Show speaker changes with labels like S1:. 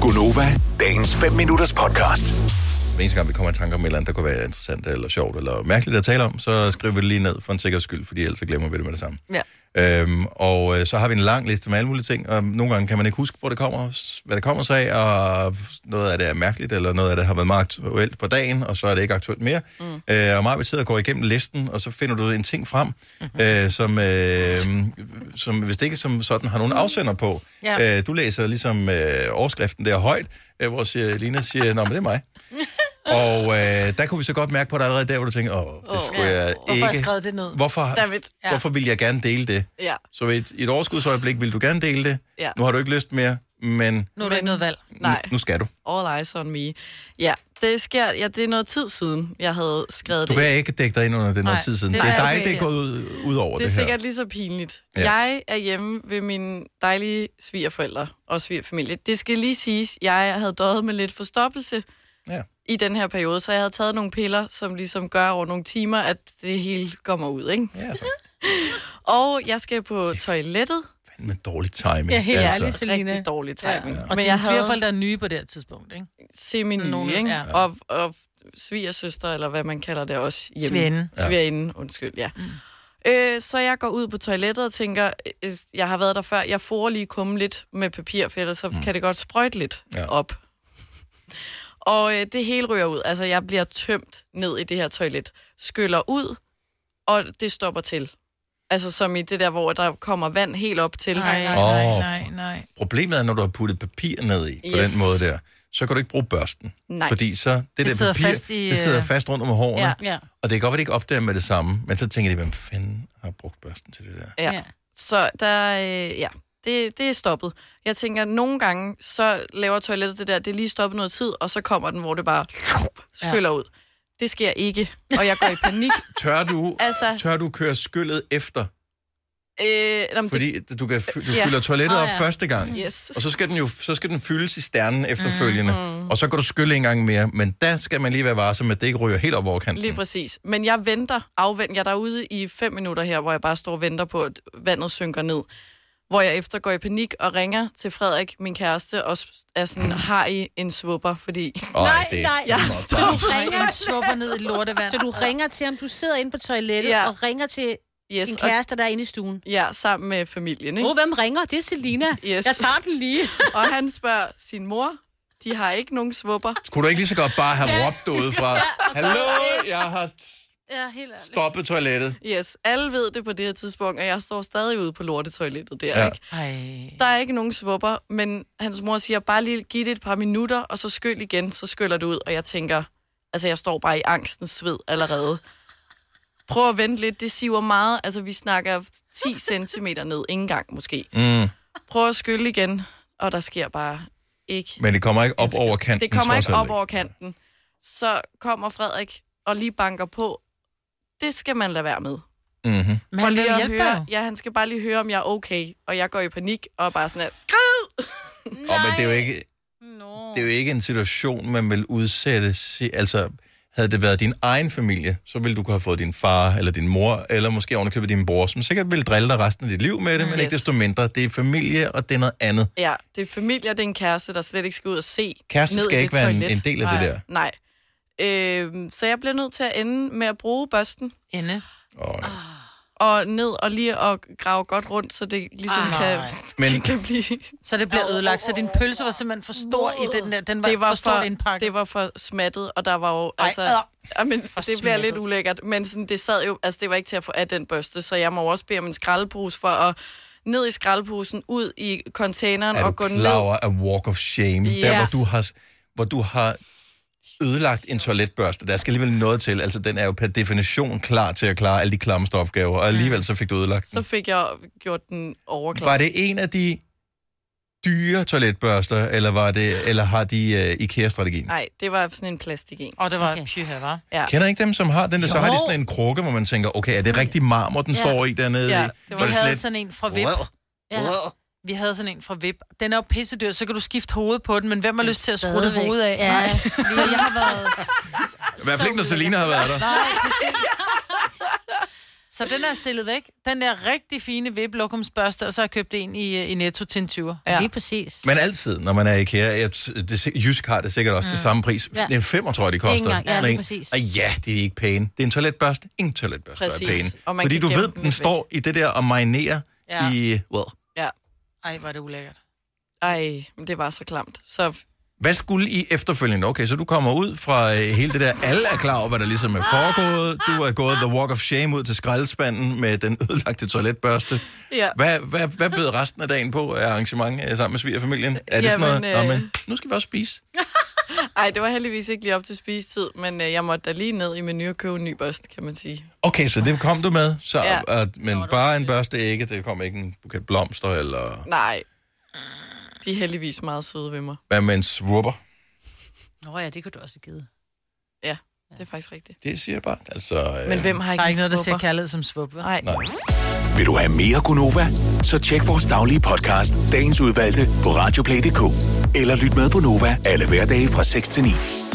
S1: Gunova, dagens 5 minutters podcast.
S2: hver eneste gang, vi kommer i tanke om et eller andet, der kunne være interessant eller sjovt eller mærkeligt at tale om, så skriver vi det lige ned for en sikkerheds skyld, fordi ellers så glemmer vi det med det samme.
S3: Ja.
S2: Øhm, og øh, så har vi en lang liste med alle mulige ting, og nogle gange kan man ikke huske, hvor det kommer, s- hvad det kommer sig af, og noget af det er mærkeligt, eller noget af det har været meget aktuelt på dagen, og så er det ikke aktuelt mere. Mm. Øh, og meget vi sidder og går igennem listen, og så finder du en ting frem, mm-hmm. øh, som, øh, som hvis det ikke som sådan har nogen afsender på.
S3: Ja.
S2: Øh, du læser ligesom øh, overskriften der højt, øh, hvor siger, Lina siger, nå, men det er mig. og øh, der kunne vi så godt mærke på dig allerede der, hvor du tænker, åh, det skulle jeg ikke.
S3: Hvorfor har jeg skrevet det ned?
S2: Hvorfor,
S3: David, ja.
S2: hvorfor vil jeg gerne dele det?
S3: Ja.
S2: Så i et, i et overskudsøjeblik vil du gerne dele det.
S4: Ja.
S2: Nu har du ikke lyst mere, men
S3: Nu er der ikke noget valg.
S4: Nej,
S2: nu, nu skal du.
S4: all eyes on me. Ja, det sker, ja, det er noget tid siden, jeg havde skrevet
S2: Du
S4: det.
S2: kan ikke dække dig ind under det er noget
S3: Nej,
S2: tid siden. Det
S3: det
S2: er, det
S3: er
S2: er dig,
S3: okay.
S2: det er gået ud, ud over
S4: Det
S2: det,
S4: er
S2: her.
S4: sikkert lige så pinligt.
S2: Ja.
S4: Ja. Jeg er hjemme ved mine dejlige svigerforældre og svigerfamilie. Det skal lige siges, jeg havde døjet med lidt forstoppelse
S2: Ja.
S4: i den her periode, så jeg havde taget nogle piller, som ligesom gør over nogle timer, at det hele kommer ud, ikke?
S2: Ja, altså, så
S4: Og jeg skal på toilettet.
S2: fandme dårlig timing. Altså,
S3: Ja, helt ærligt, Selina.
S4: Rigtig dårlig timing. Ja.
S3: Og Men dine svigerforældre er nye på det her tidspunkt, ikke?
S4: se min
S3: Nogen,
S4: nye, ikke?
S3: ja.
S4: Ja. Og, og svigersøster, eller hvad man kalder det også hjemme.
S3: Svigerinde.
S2: Ja.
S4: Svigerinde, undskyld, ja. Mm. Øh, så jeg går ud på toilettet og tænker, øh, jeg har været der før, jeg får lige kumme lidt med papir, for ellers så mm. kan det godt sprøjte lidt
S2: Ja.
S4: ja. op. Og øh, det hele ryger ud. Altså, jeg bliver tømt ned i det her toilet. Skyller ud, og det stopper til. Altså, som i det der, hvor der kommer vand helt op til.
S3: Nej, nej,
S2: Åh,
S3: nej,
S2: for-
S3: nej, nej.
S2: Problemet er, når du har puttet papir ned i, på
S4: Yes.
S2: den måde der, så kan du ikke bruge børsten.
S4: Nej.
S2: Fordi så, det, det der
S3: sidder
S2: papir,
S3: fast i,
S2: det sidder
S3: øh,
S2: fast rundt om hårene.
S3: Ja, ja.
S2: Og det kan godt være, det ikke opdager med det samme, men så tænker de, hvem fanden har brugt børsten til det der?
S4: Ja.
S3: Ja.
S4: ja. Så der, øh, ja, det, det er stoppet. Jeg tænker, nogle gange, så laver toilettet det der, det er lige stoppet noget tid, og så kommer den, hvor det bare skyller ja. ud. Det sker ikke, og jeg går i panik.
S2: Tør du,
S4: Altså-
S2: tør du køre skyllet efter?
S4: Øh, jamen, det,
S2: Fordi du, kan, fy- du
S4: Ja. Mm.
S2: fylder toilettet
S3: Åh,
S2: op
S3: ja.
S2: første gang.
S4: yes.
S2: Og så skal den jo så skal den fyldes i sternen efterfølgende. Mm, Og så kan du skylle en gang mere. Men der skal man lige være varsom med, at det ikke ryger helt op over kanten.
S4: Lige præcis. Men jeg venter, afventer. Jeg er derude i fem minutter her, hvor jeg bare står og venter på, at vandet synker ned. Hvor jeg efter går i panik og ringer til Frederik, min kæreste, og s- er sådan, har I en svupper? Fordi
S2: Øj,
S5: Nej,
S2: det er
S5: nej,
S2: fandme
S5: jeg
S2: også
S5: stod-
S2: tavs.
S5: ringer.
S3: Man svupper ned i lortevand.
S5: Så du ringer til ham, du sidder inde på toilettet
S4: Ja.
S5: ja. og ringer til
S4: yes,
S5: din
S4: og,
S5: kæreste, der er inde i stuen.
S4: ja, sammen med familien, ikke?
S5: Åh, oh, hvem ringer? Det er Selina.
S4: Yes.
S5: Jeg tager den lige.
S4: Og han spørger sin mor, de har ikke nogen svupper.
S2: Kunne du ikke lige så godt bare have råbt ud fra, Hallo, jeg har
S5: ja, helt ærligt.
S2: stoppet toilettet.
S4: Yes, alle ved det på det her tidspunkt, og jeg står stadig ude på lortetoilettet der,
S2: Ja.
S4: ja. ikke?
S3: Ej.
S4: Der er ikke nogen svupper, men hans mor siger, bare lige giv det et par minutter, og så skyl igen, så skyller det ud, og jeg tænker, altså jeg står bare i angstens sved allerede. Prøv at vente lidt, det siver meget, altså vi snakker 10 cm ned, ikke engang måske.
S2: Mm.
S4: Prøv at skylle igen, og der sker bare ikke
S2: Men det kommer ikke op
S4: Ganske.
S2: over kanten,
S4: Det kommer
S2: trods
S4: ikke
S2: alt
S4: op over kanten. Så kommer Frederik og lige banker på. Det skal man lade være med.
S2: Mhm.
S3: Men
S4: For
S3: han vil
S4: lige
S3: jo
S4: at
S3: hjælpe dig.
S4: høre,
S3: jo.
S4: ja, han skal bare lige høre, om jeg er okay. Og jeg går i panik og er bare sådan her, skrid!
S2: Og men det er, jo ikke, det er jo ikke en situation, man vil udsætte. si- Altså, havde det været din egen familie, så ville du kunne have fået din far eller din mor, eller måske ovenikøbet din bror, som sikkert ville drille dig resten af dit liv med det, men ikke
S4: Yes.
S2: desto mindre. Det er familie, og det er noget andet.
S4: Ja, det er familie, og det er en kæreste, der slet ikke skal ud og se
S2: Kæresten
S4: ned
S2: skal
S4: i det
S2: ikke være en-
S4: toilet.
S2: en del af det der.
S4: Nej. Øhm, så jeg bliver nødt til at ende med at bruge børsten
S3: Ende.
S2: Og, ja.
S4: og ned og lige at grave godt rundt, så det ligesom
S3: Ej.
S4: kan,
S2: Men-
S4: kan blive...
S3: Så det bliver ødelagt. Så din pølse var simpelthen for stor i den der. Den var,
S4: det var
S3: for stort
S4: for,
S3: indpakket.
S4: det var for smattet, og der var jo,
S3: Ej,
S4: altså,
S3: ad.
S4: ja, men, det bliver
S3: smattet.
S4: lidt ulækkert, men sådan, det sad jo, altså det var ikke til at få af den børste, så jeg må også bede om en skraldepose for at ned i skraldeposen, ud i containeren
S2: er
S4: og gå
S2: du
S4: ned.
S2: klar over at walk of shame? Yes. Der, hvor
S4: Yes.
S2: du, har, hvor du har ødelagt en toiletbørste. Der skal alligevel noget til. Altså, den er jo per definition klar til at klare alle de klammeste opgaver, og alligevel så fik du ødelagt
S4: Så
S2: den.
S4: fik jeg gjort den overklar.
S2: Var det en af de dyre toiletbørster, eller, var det, eller har de uh, IKEA-strategien?
S4: Nej, det var sådan en plastik en.
S3: Og det var
S5: Okay.
S3: pyha, var.
S4: Ja.
S2: Kender ikke dem, som har den der? Så
S3: Jo.
S2: har de sådan en krukke, hvor man tænker, okay, er det rigtig marmor, den
S3: Ja.
S2: står i dernede?
S4: Ja,
S2: i?
S4: det
S2: Hvor
S4: var-
S3: Vi
S2: det
S3: havde
S2: slet-
S3: sådan en fra VIP.
S2: Wow.
S5: Ja.
S2: Wow.
S3: Vi havde sådan en fra VIP. Den er jo pissedyr, så kan du skifte hovedet på den, men hvem har lyst til at skrue det
S5: Stadigvæk.
S3: hovedet af?
S5: Ja.
S3: Nej. Så jeg har været...
S2: I hvert fald ikke, når Selina har været der.
S3: Nej, præcis. Så den er stillet væk. Den der rigtig fine viplokumsbørste, og så har jeg købt en i, øh, i Netto til en 20'er.
S5: Ja. Lige præcis.
S2: Men altid, når man er i IKEA, jeg, det, si- Jysk har det sikkert også mm. til samme pris.
S5: Ja.
S2: Ja. En femmer, tror jeg, det koster.
S5: Ikke engang, ja,
S2: Sådan
S5: lige
S2: en.
S5: præcis.
S2: Og ja, det er ikke pæne. Det er en toiletbørste. Ingen toiletbørste
S4: Præcis.
S2: er pæne.
S4: Og man
S2: Fordi
S4: kan
S2: du
S4: gemme
S2: ved,
S4: dem
S2: den
S4: lidt
S2: står i det der og marinerer
S3: Ja.
S2: ja. i... Well.
S4: Ja.
S3: Ej, hvor er det ulækkert.
S4: Ej, men det var så klamt. Så
S2: Hvad skulle I efterfølgende? Okay, så du kommer ud fra øh, hele det der. Alle er klar over, hvad der ligesom er foregået. Du er gået the walk of shame ud til skraldespanden med den ødelagte toiletbørste.
S4: ja.
S2: Hvad, hvad, hvad bød resten af dagen på af arrangement øh, sammen med svigerfamilien? Er det sådan
S4: Jamen,
S2: noget, Nå,
S4: øh,
S2: men, nu skal vi også spise?
S4: Ej, det var heldigvis ikke lige op til spisetid, men øh, jeg måtte da lige ned i menu og købe en ny børst, kan man sige.
S2: Okay, så det kom du med, så,
S4: Ja.
S2: ja. at, men bare en børste ikke, det kom ikke en buket blomster, eller
S4: Nej, de er heldigvis meget søde ved mig.
S2: hvad med en svupper.
S5: Nå ja, det kunne du også have givet.
S4: Ja, det er faktisk rigtigt.
S2: Det siger jeg bare. Altså, øh,
S4: Men hvem har ikke,
S3: Der er ikke noget, der siger
S4: svupper?
S3: kærlighed som svup, vel?
S4: Nej.
S2: Nej.
S1: Vil du have mere Gunova? Så tjek vores daglige podcast, dagens udvalgte, på radioplay.dk. Eller lyt med på Nova alle hverdage fra 6 til 9.